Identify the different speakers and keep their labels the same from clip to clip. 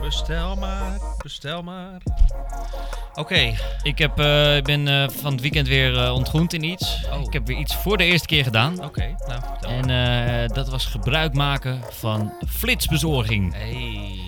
Speaker 1: Bestel maar, bestel maar. Oké,
Speaker 2: Ik heb, eh, ik ben eh, van het weekend weer eh, ontgroend in iets.
Speaker 1: Oh.
Speaker 2: Ik heb weer iets voor de eerste keer gedaan.
Speaker 1: oké. nou, vertel maar.
Speaker 2: En eh, dat was gebruik maken van flitsbezorging.
Speaker 1: Hey,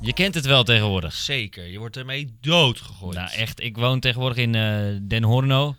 Speaker 2: Je kent het wel tegenwoordig.
Speaker 1: zeker. Je wordt ermee doodgegooid.
Speaker 2: Nou echt, ik woon tegenwoordig in eh, Den Horno.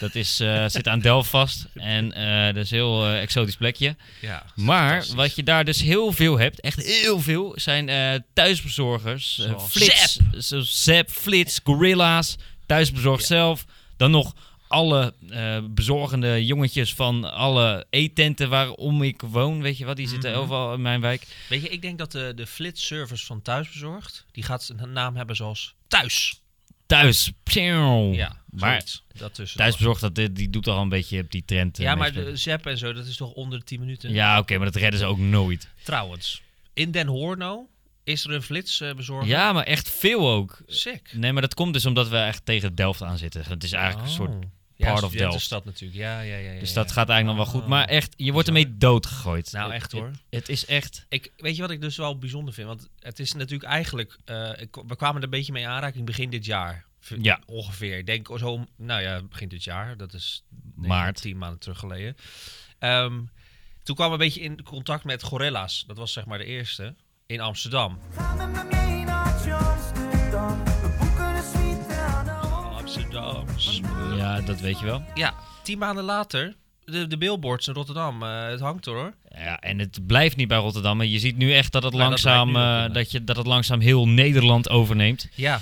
Speaker 2: Dat is, eh, zit aan Delft vast. En eh, dat is een heel eh, exotisch plekje.
Speaker 1: Ja,
Speaker 2: Maar
Speaker 1: fantastisch.
Speaker 2: wat je daar dus heel veel hebt, echt heel veel, zijn eh, thuisbezorgers. eh,
Speaker 1: Zoals
Speaker 2: flits, zo- Zep, Flits, Gorilla's, thuisbezorgd zelf. Dan nog alle eh, bezorgende jongetjes van alle eetenten waarom ik woon, weet je wat, die zitten
Speaker 1: Mhm.
Speaker 2: overal in mijn wijk.
Speaker 1: Weet je, ik denk dat de, de flitservice van Thuisbezorgd, die gaat een naam hebben zoals Thuis.
Speaker 2: Thuis,
Speaker 1: Ja,
Speaker 2: maar-
Speaker 1: zoiets. dat tussen.
Speaker 2: Thuisbezorgd, dat, die doet al een beetje op die trend. eh,
Speaker 1: Ja, maar
Speaker 2: meespelen.
Speaker 1: de Zep en zo, dat is toch onder de 10 minuten?
Speaker 2: Ja, oké, maar dat redden ze ook nooit.
Speaker 1: Trouwens, in Den Horno is er een flitsbezorger.
Speaker 2: Ja, maar echt veel ook.
Speaker 1: Sick.
Speaker 2: Nee, maar dat komt dus omdat we echt tegen Delft aan zitten. Het is eigenlijk
Speaker 1: Oh.
Speaker 2: een soort
Speaker 1: ja,
Speaker 2: part of
Speaker 1: de
Speaker 2: Delft.
Speaker 1: stad natuurlijk. Ja, ja, ja. ja,
Speaker 2: Dus
Speaker 1: ja.
Speaker 2: dat gaat eigenlijk nog wel goed.
Speaker 1: Oh.
Speaker 2: Maar echt, je wordt ermee doodgegooid.
Speaker 1: Nou,
Speaker 2: Het-
Speaker 1: echt hoor.
Speaker 2: Het, het is echt...
Speaker 1: Ik, weet je wat ik dus wel bijzonder vind? Want het is natuurlijk eigenlijk... eh, ik, we kwamen er een beetje mee in aanraking begin dit jaar. V-
Speaker 2: Ja.
Speaker 1: Ongeveer. Ik denk zo... om- Nou ja, begin dit jaar. Dat is denk ik
Speaker 2: Maart.
Speaker 1: tien maanden terug geleden. Ehm, toen kwamen we een beetje in contact met Gorilla's. Dat was zeg maar de eerste. In Amsterdam.
Speaker 3: Samen met mij naar Amsterdam. We boeken de suite aan de hand.
Speaker 1: Amsterdam.
Speaker 2: Ja, dat weet je wel.
Speaker 1: Ja, tien maanden later... De, de billboards in Rotterdam. eh, het hangt er hoor.
Speaker 2: Ja, en het blijft niet bij Rotterdam. En je ziet nu echt dat het,
Speaker 1: Maar Nou, dat
Speaker 2: langzaam,
Speaker 1: lijkt nu wel
Speaker 2: eh,
Speaker 1: prima.
Speaker 2: dat, je, dat het langzaam heel Nederland overneemt.
Speaker 1: Ja.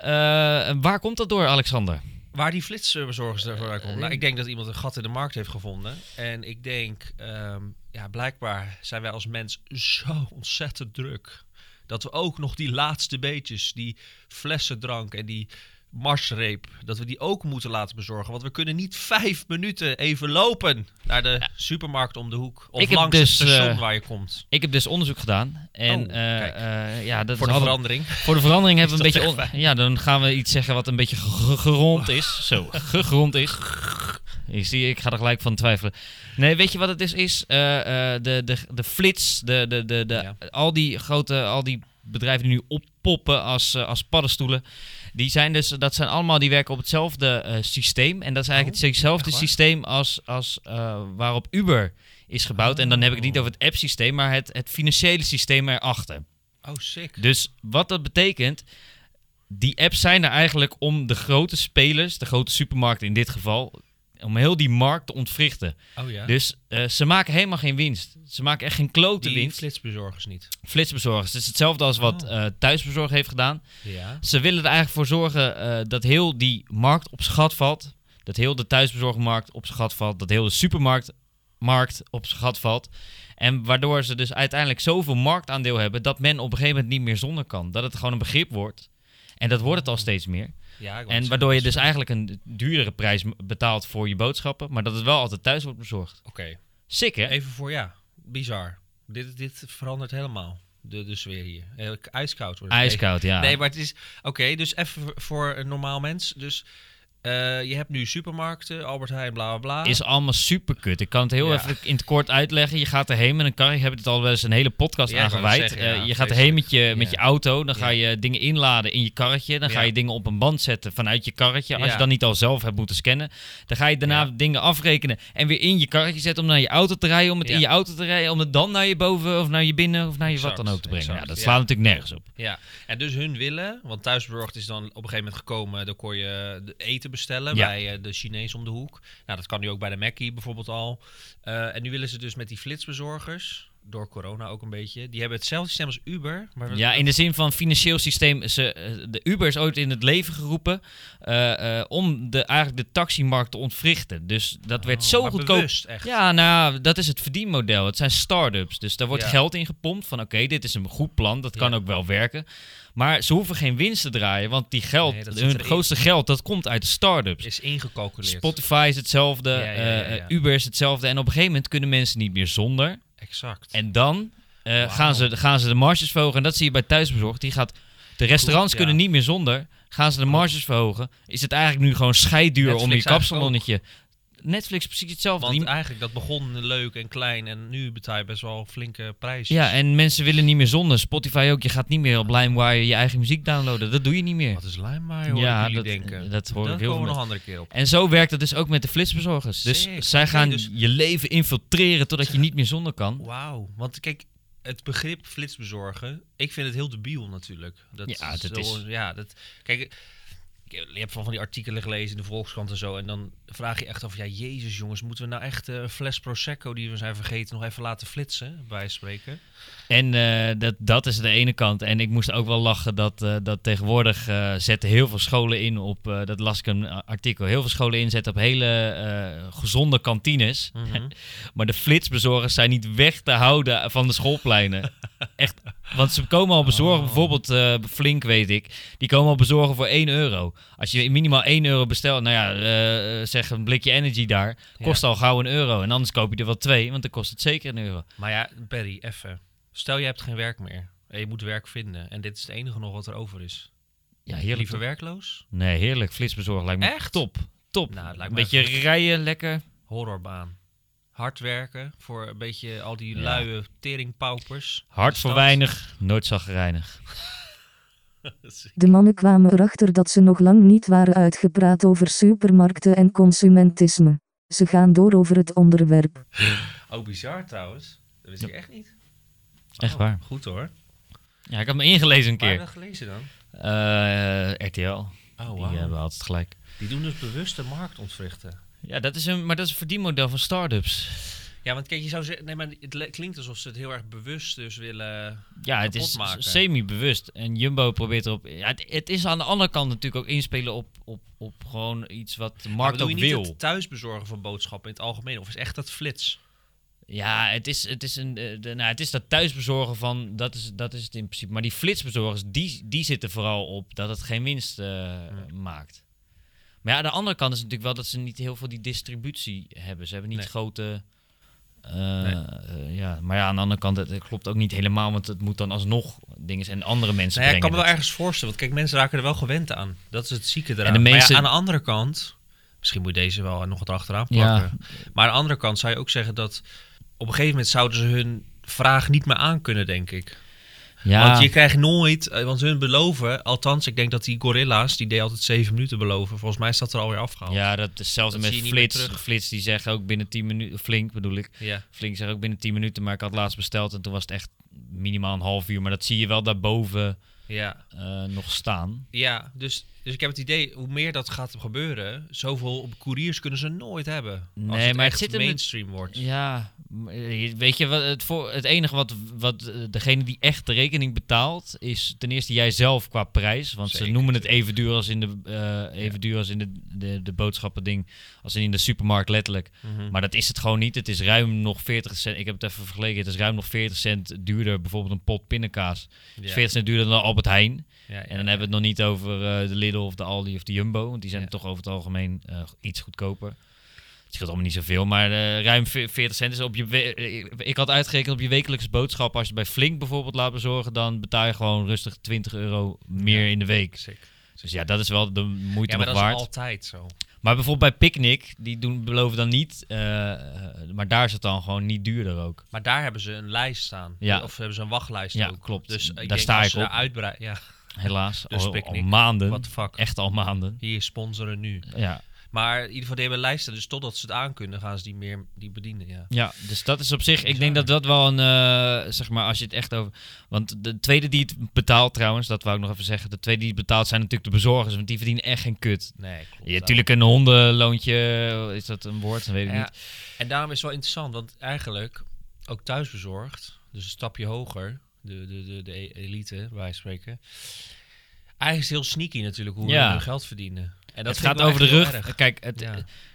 Speaker 2: Eh, en waar komt dat door, Alexander?
Speaker 1: Waar die flitsbezorgers er vandaan
Speaker 2: Eh,
Speaker 1: komen. Nou, ik denk dat iemand een gat in de markt heeft gevonden. En ik denk, ehm, ja, blijkbaar zijn wij als mens zo ontzettend druk. Dat we ook nog die laatste beetjes, die flessendrank en die marsreep, dat we die ook moeten laten bezorgen. Want we kunnen niet vijf minuten even lopen naar de supermarkt om de hoek. Of
Speaker 2: Ik heb
Speaker 1: langs
Speaker 2: dus,
Speaker 1: het station
Speaker 2: eh,
Speaker 1: waar je komt.
Speaker 2: Ik heb dus onderzoek gedaan. En
Speaker 1: Oh,
Speaker 2: eh,
Speaker 1: kijk.
Speaker 2: eh, ja, dat
Speaker 1: Voor
Speaker 2: is
Speaker 1: de
Speaker 2: altijd-
Speaker 1: verandering.
Speaker 2: Voor de verandering hebben we een
Speaker 1: Is
Speaker 2: beetje.
Speaker 1: dat
Speaker 2: on- Ja, dan gaan we iets zeggen wat een beetje ge- gerond is. Zo, gegrond is. Ik zie, ik ga er gelijk van twijfelen. Nee, weet je wat het is? is Eh, eh, de, de, de flits, de, de, de, de,
Speaker 1: Ja.
Speaker 2: al die grote, al die bedrijven die nu oppoppen als, eh, als paddenstoelen. Die zijn dus, dat zijn allemaal, die werken op hetzelfde eh, systeem. En dat is eigenlijk
Speaker 1: Oh,
Speaker 2: hetzelfde
Speaker 1: echt waar?
Speaker 2: systeem als, als eh, waarop Uber is gebouwd.
Speaker 1: Oh.
Speaker 2: En dan heb ik het niet over het app-systeem, maar het, het financiële systeem erachter.
Speaker 1: Oh, sick.
Speaker 2: Dus wat dat betekent, die apps zijn er eigenlijk om de grote spelers, de grote supermarkten in dit geval, om heel die markt te ontwrichten.
Speaker 1: Oh ja.
Speaker 2: Dus eh, ze maken helemaal geen winst. Ze maken echt geen klote
Speaker 1: die
Speaker 2: winst.
Speaker 1: flitsbezorgers niet.
Speaker 2: Flitsbezorgers, het is hetzelfde als wat
Speaker 1: Oh.
Speaker 2: eh Thuisbezorg heeft gedaan.
Speaker 1: Ja.
Speaker 2: Ze willen er eigenlijk voor zorgen eh, dat heel die markt op zijn gat valt. Dat heel de thuisbezorgmarkt op zijn gat valt. Dat heel de supermarktmarkt op zijn gat valt. En waardoor ze dus uiteindelijk zoveel marktaandeel hebben dat men op een gegeven moment niet meer zonder kan. Dat het gewoon een begrip wordt. En dat wordt het al steeds meer.
Speaker 1: ja ik wou
Speaker 2: En
Speaker 1: het
Speaker 2: waardoor je
Speaker 1: zeggen.
Speaker 2: dus eigenlijk een duurdere prijs m- betaalt voor je boodschappen. Maar dat het wel altijd thuis wordt bezorgd.
Speaker 1: Oké.
Speaker 2: Sick hè?
Speaker 1: Even voor ja, bizar. Dit, dit verandert helemaal de, de sfeer hier. Eh, k- Ijskoud wordt het.
Speaker 2: Ijskoud, ja.
Speaker 1: Nee, nee, maar het is... Oké, dus even voor- voor een normaal mens. Dus eh, je hebt nu supermarkten, Albert Heijn, bla bla bla.
Speaker 2: Is allemaal super kut. Ik kan het heel
Speaker 1: Ja.
Speaker 2: even in het kort uitleggen. Je gaat erheen met een kar. Ik heb het al wel eens een hele podcast
Speaker 1: Ja, ik wou
Speaker 2: aangeweid.
Speaker 1: het zeggen,
Speaker 2: Eh,
Speaker 1: ja,
Speaker 2: je gaat erheen
Speaker 1: vreselijk.
Speaker 2: met je, met
Speaker 1: Ja.
Speaker 2: je auto. Dan ga
Speaker 1: Ja.
Speaker 2: je dingen inladen in je karretje. Dan ga
Speaker 1: Ja.
Speaker 2: je dingen op een band zetten vanuit je karretje. Als
Speaker 1: Ja.
Speaker 2: je dan niet al zelf hebt moeten scannen. Dan ga je daarna
Speaker 1: Ja.
Speaker 2: dingen afrekenen. En weer in je karretje zetten om naar je auto te rijden. Om het
Speaker 1: Ja.
Speaker 2: in je auto te rijden. Om het dan naar je boven of naar je binnen of naar je
Speaker 1: Exact,
Speaker 2: wat dan ook te brengen.
Speaker 1: exact,
Speaker 2: ja, dat
Speaker 1: ja.
Speaker 2: slaat natuurlijk nergens op.
Speaker 1: Ja, en dus hun willen, want thuisbezorgd is dan op een gegeven moment gekomen, dan kon je de eten bestellen
Speaker 2: Ja.
Speaker 1: bij eh, de Chinees om de hoek. Nou, dat kan nu ook bij de Mackie bijvoorbeeld al. Eh, en nu willen ze dus met die flitsbezorgers, door corona ook een beetje, die hebben hetzelfde systeem als Uber. Maar
Speaker 2: Ja, in de zin van financieel systeem. Ze, eh, de Uber is ooit in het leven geroepen eh, eh, om de, eigenlijk de taximarkt te ontwrichten. Dus dat werd zo
Speaker 1: Oh, maar
Speaker 2: goedkoop.
Speaker 1: bewust, echt.
Speaker 2: Ja, nou, dat is het verdienmodel. Het zijn start-ups. Dus daar wordt
Speaker 1: Ja.
Speaker 2: geld in gepompt van oké, dit is een goed plan, dat kan
Speaker 1: Ja.
Speaker 2: ook wel werken. Maar ze hoeven geen winst te draaien, want die geld,
Speaker 1: Nee, dat zit
Speaker 2: hun
Speaker 1: erin.
Speaker 2: grootste geld, dat komt uit de start-ups.
Speaker 1: Is ingecalculeerd.
Speaker 2: Spotify is hetzelfde,
Speaker 1: Ja, ja, ja,
Speaker 2: eh,
Speaker 1: ja.
Speaker 2: Uber is hetzelfde. En op een gegeven moment kunnen mensen niet meer zonder.
Speaker 1: Exact.
Speaker 2: En dan eh,
Speaker 1: Wauw.
Speaker 2: gaan, ze, gaan ze de marges verhogen. En dat zie je bij thuisbezorgd. Die gaat, de restaurants
Speaker 1: ja.
Speaker 2: kunnen niet meer zonder. Gaan ze de marges verhogen. Is het eigenlijk nu gewoon scheidduur om je
Speaker 1: Netflix eigenlijk
Speaker 2: kapsalonnetje Netflix precies hetzelfde.
Speaker 1: Want
Speaker 2: Die-
Speaker 1: eigenlijk, dat begon leuk en klein en nu betaal je best wel flinke prijzen.
Speaker 2: ja, en mensen willen niet meer zonder. Spotify ook. Je gaat niet meer op LimeWire je eigen muziek downloaden. Dat doe je niet meer.
Speaker 1: Wat is LimeWire, hoor
Speaker 2: Ja,
Speaker 1: ja, jullie
Speaker 2: dat-
Speaker 1: denken.
Speaker 2: dat hoor
Speaker 1: Daar
Speaker 2: ik heel
Speaker 1: komen we nog
Speaker 2: veel
Speaker 1: een andere keer op.
Speaker 2: En zo werkt het dus ook met de flitsbezorgers. Dus
Speaker 1: Sick.
Speaker 2: zij
Speaker 1: Oké,
Speaker 2: gaan
Speaker 1: dus-
Speaker 2: je leven infiltreren totdat je niet meer zonder kan.
Speaker 1: Wauw, want kijk, het begrip flitsbezorgen, ik vind het heel debiel natuurlijk. Dat
Speaker 2: Ja, dat
Speaker 1: heel-
Speaker 2: is-
Speaker 1: Ja, dat... Kijk, ik- je hebt van, van die artikelen gelezen in de Volkskrant en zo, en dan vraag je echt af, ja, jezus jongens, moeten we nou echt eh, een fles Prosecco die we zijn vergeten nog even laten flitsen, bij spreken?
Speaker 2: En eh, dat, dat is de ene kant. En ik moest ook wel lachen dat, eh, dat tegenwoordig eh, zetten heel veel scholen in op, eh, dat las ik een eh, artikel, heel veel scholen inzetten op hele eh, gezonde kantines.
Speaker 1: Mhm.
Speaker 2: Maar de flitsbezorgers zijn niet weg te houden van de schoolpleinen. Echt, want ze komen al bezorgen, bijvoorbeeld eh, Flink weet ik, die komen al bezorgen voor 1 euro. Als je minimaal 1 euro bestelt, nou ja, eh, zeg een blikje energy daar, kost al gauw een euro. En anders koop je er wel twee, want dan kost het zeker een euro.
Speaker 1: Maar ja, Barry, even. Stel, je hebt geen werk meer. En je moet werk vinden. En dit is het enige nog wat er over is.
Speaker 2: Ja, heerlijk.
Speaker 1: Liever werkloos?
Speaker 2: Nee, heerlijk. Flitsbezorg lijkt me
Speaker 1: Echt?
Speaker 2: top. Top.
Speaker 1: Nou, het lijkt
Speaker 2: een
Speaker 1: me
Speaker 2: beetje rijden, lekker.
Speaker 1: Horrorbaan. Hard werken voor een beetje al die luie teringpaupers.
Speaker 2: Hard
Speaker 1: De
Speaker 2: voor
Speaker 1: stad.
Speaker 2: weinig, nooit zagrijnig.
Speaker 4: De mannen kwamen erachter dat ze nog lang niet waren uitgepraat over supermarkten en consumentisme. Ze gaan door over het onderwerp.
Speaker 1: Oh, bizar trouwens. Dat wist ik echt niet.
Speaker 2: Echt
Speaker 1: Oh,
Speaker 2: waar.
Speaker 1: Goed hoor.
Speaker 2: Ja, ik had me ingelezen een
Speaker 1: Waar heb je
Speaker 2: keer.
Speaker 1: dat gelezen dan?
Speaker 2: Eh, RTL.
Speaker 1: Oh,
Speaker 2: Die eh, hebben
Speaker 1: wauw.
Speaker 2: altijd gelijk.
Speaker 1: Die doen dus bewust de markt ontwrichten.
Speaker 2: Ja, dat is een, maar dat is een verdienmodel van start-ups.
Speaker 1: Ja, want kijk, je zou zeggen... Nee, maar het le- klinkt alsof ze het heel erg bewust dus willen...
Speaker 2: Ja, het
Speaker 1: Kapot
Speaker 2: is
Speaker 1: maken.
Speaker 2: semi-bewust. En Jumbo probeert erop... Ja, het, het is aan de andere kant natuurlijk ook inspelen op, op, op gewoon iets wat de
Speaker 1: Maar
Speaker 2: markt
Speaker 1: bedoel
Speaker 2: ook
Speaker 1: je niet
Speaker 2: wil.
Speaker 1: het thuisbezorgen van boodschappen in het algemeen? Of is echt dat flits?
Speaker 2: Ja, het is, het is, een, eh, de, nou, het is dat thuisbezorgen van, dat is, dat is het in principe. Maar die flitsbezorgers, die, die zitten vooral op dat het geen winst eh, maakt. Maar ja, aan de andere kant is natuurlijk wel dat ze niet heel veel die distributie hebben. Ze hebben niet
Speaker 1: Nee.
Speaker 2: grote... eh,
Speaker 1: Nee.
Speaker 2: eh, ja. Maar ja, aan de andere kant, het, het klopt ook niet helemaal, want het moet dan alsnog dingen zijn. En andere mensen
Speaker 1: Nou ja, ik
Speaker 2: brengen
Speaker 1: kan me
Speaker 2: dat.
Speaker 1: wel ergens voorstellen. Want kijk, mensen raken er wel gewend aan. Dat is het zieke eraan.
Speaker 2: En de
Speaker 1: Maar
Speaker 2: meeste-
Speaker 1: ja, aan de andere kant... Misschien moet je deze wel nog wat achteraan plakken. Maar aan de andere kant zou je ook zeggen dat... Op een gegeven moment zouden ze hun vraag niet meer aan kunnen, denk ik.
Speaker 2: Ja.
Speaker 1: Want je krijgt nooit... eh, Want hun beloven... Althans, ik denk dat die gorilla's... Die deden altijd zeven minuten beloven. Volgens mij is dat er alweer afgehaald.
Speaker 2: Ja, dat is hetzelfde
Speaker 1: Dat
Speaker 2: met
Speaker 1: zie je niet meer
Speaker 2: Flits.
Speaker 1: terug.
Speaker 2: Flits die zeggen ook binnen 10 minuten, flink bedoel ik.
Speaker 1: Ja.
Speaker 2: Flink zegt ook binnen 10 minuten, maar ik had laatst besteld en toen was het echt minimaal een half uur. Maar dat zie je wel daarboven
Speaker 1: Ja.
Speaker 2: eh, nog staan.
Speaker 1: Ja, dus, dus ik heb het idee, hoe meer dat gaat gebeuren, zoveel couriers kunnen ze nooit hebben.
Speaker 2: Nee,
Speaker 1: als het
Speaker 2: maar het
Speaker 1: echt
Speaker 2: zit hem in-
Speaker 1: mainstream wordt.
Speaker 2: Ja, maar, eh, weet je, wat, het, voor, het enige wat, wat eh, degene die echt de rekening betaalt, is ten eerste jijzelf qua prijs. Want ze
Speaker 1: Zeker,
Speaker 2: noemen het even duur als in de, eh, even duur als in de, de, de boodschappen ding, als in de supermarkt letterlijk.
Speaker 1: Mhm.
Speaker 2: Maar dat is het gewoon niet. Het is ruim nog 40 cent. Ik heb het even vergeleken. Het is ruim nog 40 cent duurder. Bijvoorbeeld een pot pindakaas. Het is
Speaker 1: Ja.
Speaker 2: 40 cent duurder dan Albert Heijn.
Speaker 1: Ja, ja,
Speaker 2: En dan hebben we het nog niet over eh, de Lidl of de Aldi of de Jumbo. Want die zijn
Speaker 1: Ja.
Speaker 2: toch over het algemeen eh, iets goedkoper. Het scheelt allemaal niet zoveel, maar eh, ruim ve- 40 cent is op je... we- eh, Ik had uitgerekend op je wekelijkse boodschap. Als je bij Flink bijvoorbeeld laat bezorgen, dan betaal je gewoon rustig 20 euro meer
Speaker 1: Ja.
Speaker 2: in de week.
Speaker 1: Sick.
Speaker 2: Dus ja, dat is wel de moeite
Speaker 1: Ja, maar
Speaker 2: nog
Speaker 1: dat
Speaker 2: waard.
Speaker 1: is altijd zo.
Speaker 2: Maar bijvoorbeeld bij Picnic, die doen, beloven dan niet. eh, eh, maar daar is het dan gewoon niet duurder ook.
Speaker 1: Maar daar hebben ze een lijst staan.
Speaker 2: Ja.
Speaker 1: Of hebben ze een wachtlijst
Speaker 2: Ja,
Speaker 1: ook.
Speaker 2: klopt.
Speaker 1: Dus ik
Speaker 2: Daar
Speaker 1: denk
Speaker 2: sta
Speaker 1: als
Speaker 2: ik
Speaker 1: ze daar
Speaker 2: op.
Speaker 1: uitbreiden. Ja,
Speaker 2: Helaas,
Speaker 1: Dus
Speaker 2: al, al
Speaker 1: Picnic.
Speaker 2: maanden.
Speaker 1: what the fuck.
Speaker 2: Echt al maanden.
Speaker 1: Hier sponsoren nu.
Speaker 2: Ja,
Speaker 1: Maar in ieder geval, die hebben lijsten. Dus totdat ze het aankunnen, gaan ze die meer die bedienen. Ja.
Speaker 2: Ja, dus dat is op zich. Ik denk dat dat wel een. eh, zeg maar, als je het echt over. Want de tweede die het betaalt, trouwens, dat wou ik nog even zeggen. De tweede die het betaalt zijn natuurlijk de bezorgers, want die verdienen echt geen kut.
Speaker 1: Nee, klopt.
Speaker 2: Ja, natuurlijk een hondenloontje. Is dat een woord? Dat weet ik
Speaker 1: Ja,
Speaker 2: niet.
Speaker 1: En daarom is het wel interessant, want eigenlijk ook thuisbezorgd, dus een stapje hoger, de, de, de, de e- elite, bij wijze van spreken. Eigenlijk is het heel sneaky natuurlijk hoe
Speaker 2: Ja.
Speaker 1: we hun geld verdienen. En dat
Speaker 2: het gaat over de rug. Kijk, het,
Speaker 1: Ja.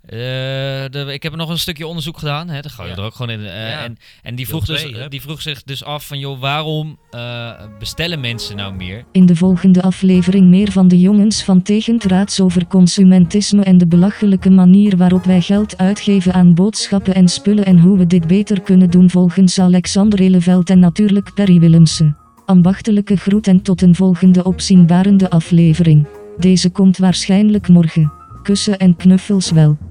Speaker 2: eh, de- ik heb nog een stukje onderzoek gedaan. Hè, daar gooi je
Speaker 1: Ja.
Speaker 2: er ook gewoon in. eh,
Speaker 1: Ja.
Speaker 2: En, en die,
Speaker 1: Deel
Speaker 2: vroeg dus,
Speaker 1: twee, hè?
Speaker 2: die vroeg zich dus af van, joh, waarom eh, bestellen mensen nou meer?
Speaker 4: In de volgende aflevering meer van de jongens van Tegendraads over consumentisme en de belachelijke manier waarop wij geld uitgeven aan boodschappen en spullen en hoe we dit beter kunnen doen volgens Alexander Eleveld en natuurlijk Perry Willemsen. Ambachtelijke groet en tot een volgende opzienbarende aflevering. Deze komt waarschijnlijk morgen. Kussen en knuffels wel.